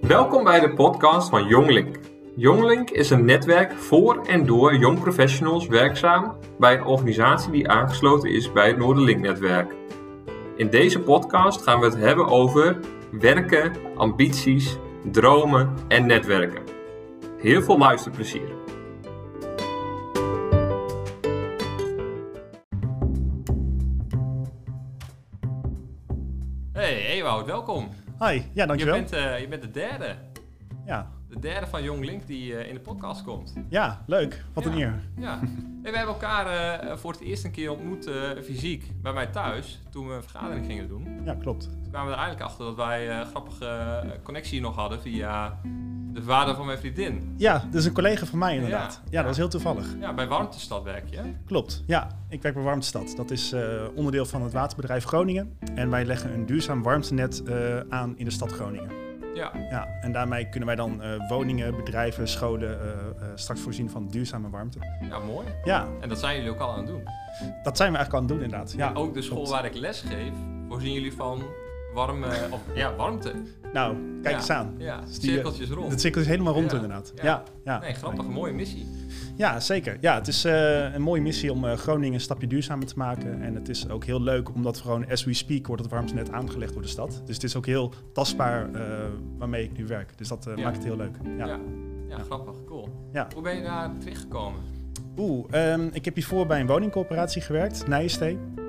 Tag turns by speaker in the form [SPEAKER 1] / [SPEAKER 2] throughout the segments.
[SPEAKER 1] Welkom bij de podcast van Jonglink. Jonglink is een netwerk voor en door jong professionals werkzaam bij een organisatie die aangesloten is bij het Noorderlink-netwerk. In deze podcast gaan we het hebben over werken, ambities, dromen en netwerken. Heel veel luisterplezier. Hey, hey Wout, welkom.
[SPEAKER 2] Hi, ja,
[SPEAKER 1] Je
[SPEAKER 2] dankjewel.
[SPEAKER 1] bent, eh, je bent de derde.
[SPEAKER 2] Ja,
[SPEAKER 1] De derde van Jong Link die eh, in de podcast komt.
[SPEAKER 2] ja, leuk. Wat een
[SPEAKER 1] Ja.
[SPEAKER 2] eer.
[SPEAKER 1] Ja. En we hebben elkaar eh, voor het eerst een keer ontmoet eh, fysiek bij mij thuis. Toen we een vergadering gingen doen.
[SPEAKER 2] Ja, klopt.
[SPEAKER 1] Toen kwamen we er eigenlijk achter dat wij eh, grappige eh, connectie nog hadden via de vader van mijn vriendin.
[SPEAKER 2] Ja, dat is een collega van mij inderdaad.
[SPEAKER 1] Ja.
[SPEAKER 2] Ja, dat is heel toevallig.
[SPEAKER 1] Ja, bij Warmtestad werk je.
[SPEAKER 2] Klopt. Ja, ik werk bij Warmtestad. Dat is eh, onderdeel van het waterbedrijf Groningen. En wij leggen een duurzaam warmtenet eh, aan in de stad Groningen.
[SPEAKER 1] Ja,
[SPEAKER 2] Ja, en daarmee kunnen wij dan eh, woningen, bedrijven, scholen eh, eh, straks voorzien van duurzame warmte.
[SPEAKER 1] ja, mooi.
[SPEAKER 2] Ja,
[SPEAKER 1] En dat zijn jullie ook al aan het doen.
[SPEAKER 2] dat zijn we eigenlijk aan het doen inderdaad. Ja,
[SPEAKER 1] ook de school
[SPEAKER 2] klopt.
[SPEAKER 1] waar ik les geef, voorzien jullie van warme, of, ja, warmte.
[SPEAKER 2] Nou, kijk
[SPEAKER 1] Ja.
[SPEAKER 2] eens aan.
[SPEAKER 1] Ja,
[SPEAKER 2] Dus die, eh,
[SPEAKER 1] cirkeltjes rond.
[SPEAKER 2] Het cirkel is helemaal rond
[SPEAKER 1] Ja.
[SPEAKER 2] inderdaad.
[SPEAKER 1] Ja.
[SPEAKER 2] Ja, ja.
[SPEAKER 1] Nee, grappig, mooie missie.
[SPEAKER 2] Ja, zeker. Ja, het is eh, een mooie missie om eh, Groningen een stapje duurzamer te maken. En het is ook heel leuk omdat we gewoon, as we speak, wordt het warmtenet aangelegd door de stad. Dus het is ook heel tastbaar eh, waarmee ik nu werk. Dus dat eh,
[SPEAKER 1] Ja.
[SPEAKER 2] maakt het heel leuk. Ja.
[SPEAKER 1] Ja. Ja, grappig, cool.
[SPEAKER 2] Ja.
[SPEAKER 1] Hoe ben je daar terechtgekomen?
[SPEAKER 2] Oeh, ehm, ik heb hiervoor bij een woningcorporatie gewerkt, Nijestee.
[SPEAKER 1] Mhm.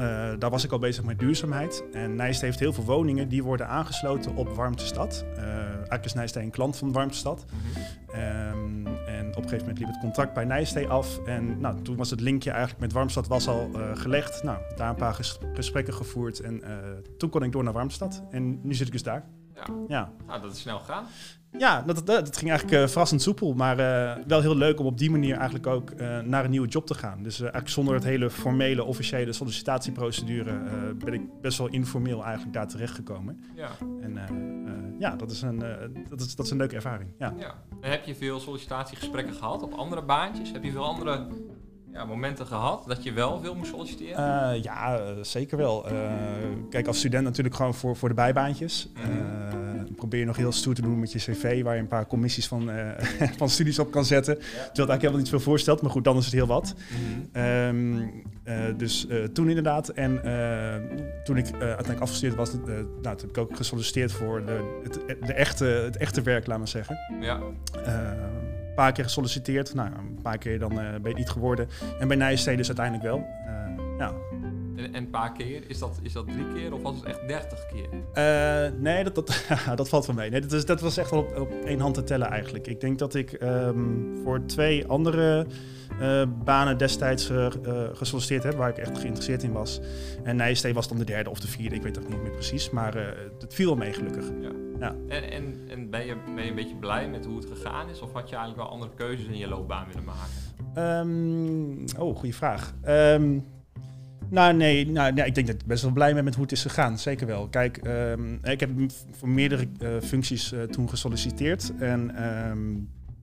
[SPEAKER 2] Eh, daar was ik al bezig met duurzaamheid. En Nijst heeft heel veel woningen die worden aangesloten op Warmtestad. Eh eigenlijk is Nijst een klant van Warmtestad. Ehm, en op een gegeven moment liep het contract bij Nijstee af. En nou, toen was het linkje eigenlijk met Warmstad was al eh, gelegd. Nou, daar een paar ges- gesprekken gevoerd. En eh, toen kon ik door naar Warmstad. En nu zit ik dus daar.
[SPEAKER 1] Ja.
[SPEAKER 2] Ja,
[SPEAKER 1] Nou, dat is snel gegaan.
[SPEAKER 2] ja dat, dat, dat ging eigenlijk eh, verrassend soepel. Maar eh, wel heel leuk om op die manier eigenlijk ook eh, naar een nieuwe job te gaan. Dus eh, eigenlijk zonder het hele formele, officiële sollicitatieprocedure... eh, ben ik best wel informeel eigenlijk daar terechtgekomen.
[SPEAKER 1] Ja.
[SPEAKER 2] En eh, eh, ja, dat is, een, eh, dat, is, dat is een leuke ervaring. Ja.
[SPEAKER 1] ja. En heb je veel sollicitatiegesprekken gehad op andere baantjes? Heb je veel andere ja, momenten gehad dat je wel veel moest solliciteren?
[SPEAKER 2] Eh, ja, eh, zeker wel. Eh, kijk, als student natuurlijk gewoon voor, voor de bijbaantjes. Eh, probeer je nog heel stoer te doen met je cv, waar je een paar commissies van, eh, van studies op kan zetten. Terwijl het eigenlijk helemaal niet veel voorstelt, maar goed, dan is het heel wat.
[SPEAKER 1] Mhm.
[SPEAKER 2] Ehm, eh, dus eh, toen inderdaad. En eh, toen ik eh, uiteindelijk afgestudeerd was, eh, nou, toen heb ik ook gesolliciteerd voor de, het, de echte, het echte werk, laat maar zeggen.
[SPEAKER 1] Ja.
[SPEAKER 2] Eh, een paar keer gesolliciteerd. Nou, een paar keer dan eh, ben je het niet geworden. En bij Nijstede dus uiteindelijk wel. Eh, ja,
[SPEAKER 1] En, en een paar keer? Is dat, is dat drie keer of was het echt dertig keer?
[SPEAKER 2] Eh, nee, dat, dat, dat valt wel mee. Nee, dat, is, dat was echt wel op, op één hand te tellen eigenlijk. Ik denk dat ik ehm, voor twee andere eh, banen destijds eh, eh, gesolliciteerd heb, waar ik echt geïnteresseerd in was. En Nijstee was dan de derde of de vierde, ik weet dat niet meer precies. Maar eh, het viel wel mee gelukkig.
[SPEAKER 1] En, en, en ben, je, ben je een beetje blij met hoe het gegaan is? Of had je eigenlijk wel andere keuzes in je loopbaan willen maken?
[SPEAKER 2] Ehm, oh, goede vraag. Ehm, nou, nee, nou, nee, ik denk dat ik best wel blij ben met hoe het is gegaan. Zeker wel. Kijk, ehm, ik heb m- voor meerdere eh, functies eh, toen gesolliciteerd. En ehm,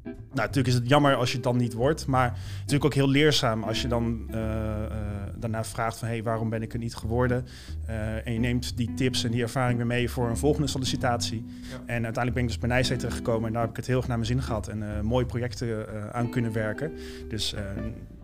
[SPEAKER 2] nou, natuurlijk is het jammer als je het dan niet wordt. Maar het is natuurlijk ook heel leerzaam als je dan eh, eh, daarna vraagt van... hé, hey, waarom ben ik er niet geworden? Eh, en je neemt die tips en die ervaring weer mee voor een volgende sollicitatie. En uiteindelijk ben ik dus bij Nijstee terechtgekomen. En daar heb ik het heel erg naar mijn zin gehad. En eh, mooie projecten eh, aan kunnen werken. Dus eh,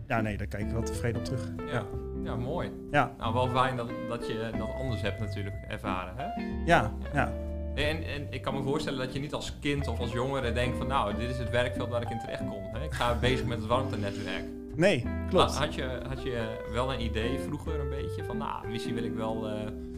[SPEAKER 2] ja, nee, daar kijk ik wel tevreden op terug.
[SPEAKER 1] Ja. Ja, mooi.
[SPEAKER 2] Ja.
[SPEAKER 1] Nou, wel fijn dat, dat je dat anders hebt natuurlijk ervaren, hè?
[SPEAKER 2] Ja, ja.
[SPEAKER 1] En, en ik kan me voorstellen dat je niet als kind of als jongere denkt van nou, dit is het werkveld waar ik in terecht kom. Hè? Ik ga bezig met het warmtenetwerk.
[SPEAKER 2] Nee,
[SPEAKER 1] Ha-
[SPEAKER 2] klopt.
[SPEAKER 1] Had je, had je wel een idee vroeger een beetje van nou, misschien wil ik wel eh,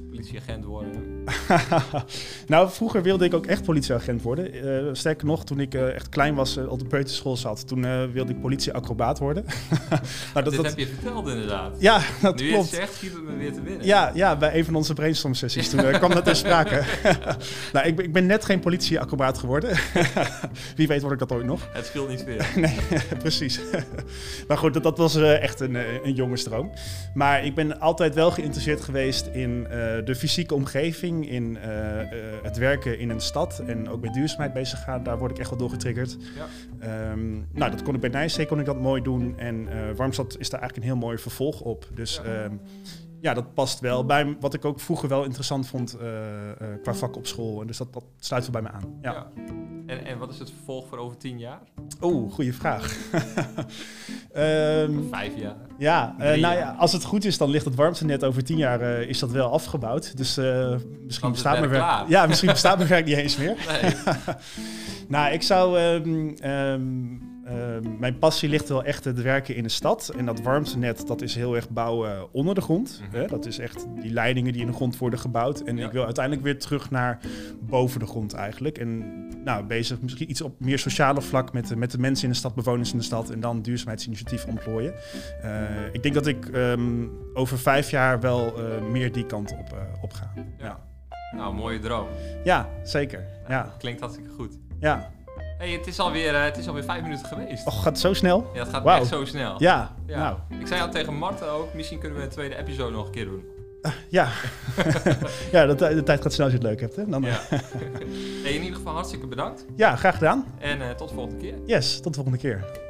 [SPEAKER 1] politieagent worden. ah.
[SPEAKER 2] nou, vroeger wilde ik ook echt politieagent worden. Eh, sterker nog, toen ik eh, echt klein was, eh, op de peuterschool zat, toen eh, wilde ik politieacrobaat worden. nou,
[SPEAKER 1] dit heb je verteld inderdaad.
[SPEAKER 2] Ja, dat
[SPEAKER 1] nu je het
[SPEAKER 2] klopt.
[SPEAKER 1] zegt, schiet het me weer te binnen.
[SPEAKER 2] Ja, ja, bij een van onze brainstorm sessies toen eh, kwam dat ter sprake. nou, ik, ben- ik ben net geen politieacrobaat geworden. Wie weet word ik dat ooit nog.
[SPEAKER 1] Het scheelt niet veel.
[SPEAKER 2] Nee, precies. maar goed, dat, dat was eh, echt een, eh, een jonge stroom. Maar ik ben altijd wel geïnteresseerd geweest in eh, de fysieke omgeving, in eh, eh, het werken in een stad en ook met duurzaamheid bezig gaan. Daar word ik echt wel door getriggerd.
[SPEAKER 1] Ja.
[SPEAKER 2] Ehm, nou, dat kon ik bij Nijsee kon ik dat mooi doen en eh Warmstad is daar eigenlijk een heel mooi vervolg op. Dus
[SPEAKER 1] Ja.
[SPEAKER 2] ehm, ja, dat past wel bij wat ik ook vroeger wel interessant vond eh, eh, qua vak op school. En dus dat, dat sluit wel bij me aan. Ja.
[SPEAKER 1] En, en wat is het vervolg voor over tien jaar?
[SPEAKER 2] Oeh, goede vraag. Ehm,
[SPEAKER 1] Vijf jaar.
[SPEAKER 2] ja, eh,
[SPEAKER 1] Drie
[SPEAKER 2] nou ja,
[SPEAKER 1] jaar.
[SPEAKER 2] als het goed is, dan ligt het warmtenet over tien jaar eh, is dat wel afgebouwd. Dus eh, misschien
[SPEAKER 1] het
[SPEAKER 2] bestaat mijn
[SPEAKER 1] werk
[SPEAKER 2] werk.
[SPEAKER 1] klaar.
[SPEAKER 2] Ja, misschien bestaat mijn werk niet eens meer.
[SPEAKER 1] Nee.
[SPEAKER 2] Nou, ik zou. ehm, ehm, ehm, mijn passie ligt wel echt het werken in de stad. En dat warmtenet, dat is heel erg bouwen eh, onder de grond.
[SPEAKER 1] Mhm.
[SPEAKER 2] hè? Dat is echt die leidingen die in de grond worden gebouwd. En
[SPEAKER 1] Ja.
[SPEAKER 2] ik wil uiteindelijk weer terug naar boven de grond eigenlijk. En nou, bezig misschien iets op meer sociale vlak met de, met de mensen in de stad, bewoners in de stad. En dan duurzaamheidsinitiatief ontplooien. Eh, ik denk dat ik ehm, over vijf jaar wel eh, meer die kant op, eh, op ga. Ja.
[SPEAKER 1] Ja. Nou, mooie droom.
[SPEAKER 2] ja, zeker. Ja,
[SPEAKER 1] Klinkt hartstikke goed.
[SPEAKER 2] ja.
[SPEAKER 1] hey, het, is alweer, eh, het is alweer vijf minuten geweest.
[SPEAKER 2] Och, gaat het zo snel?
[SPEAKER 1] Ja, het gaat
[SPEAKER 2] Wauw.
[SPEAKER 1] echt zo snel.
[SPEAKER 2] Ja,
[SPEAKER 1] Ja.
[SPEAKER 2] nou.
[SPEAKER 1] Ik zei al tegen Marten ook, misschien kunnen we een tweede episode nog een keer doen.
[SPEAKER 2] Ja, ja de, tij- de tijd gaat snel als je het leuk hebt. Hè? Dan, ja.
[SPEAKER 1] Ja. Hey, in ieder geval hartstikke bedankt.
[SPEAKER 2] graag gedaan.
[SPEAKER 1] En eh, tot de volgende keer.
[SPEAKER 2] Yes, tot de volgende keer.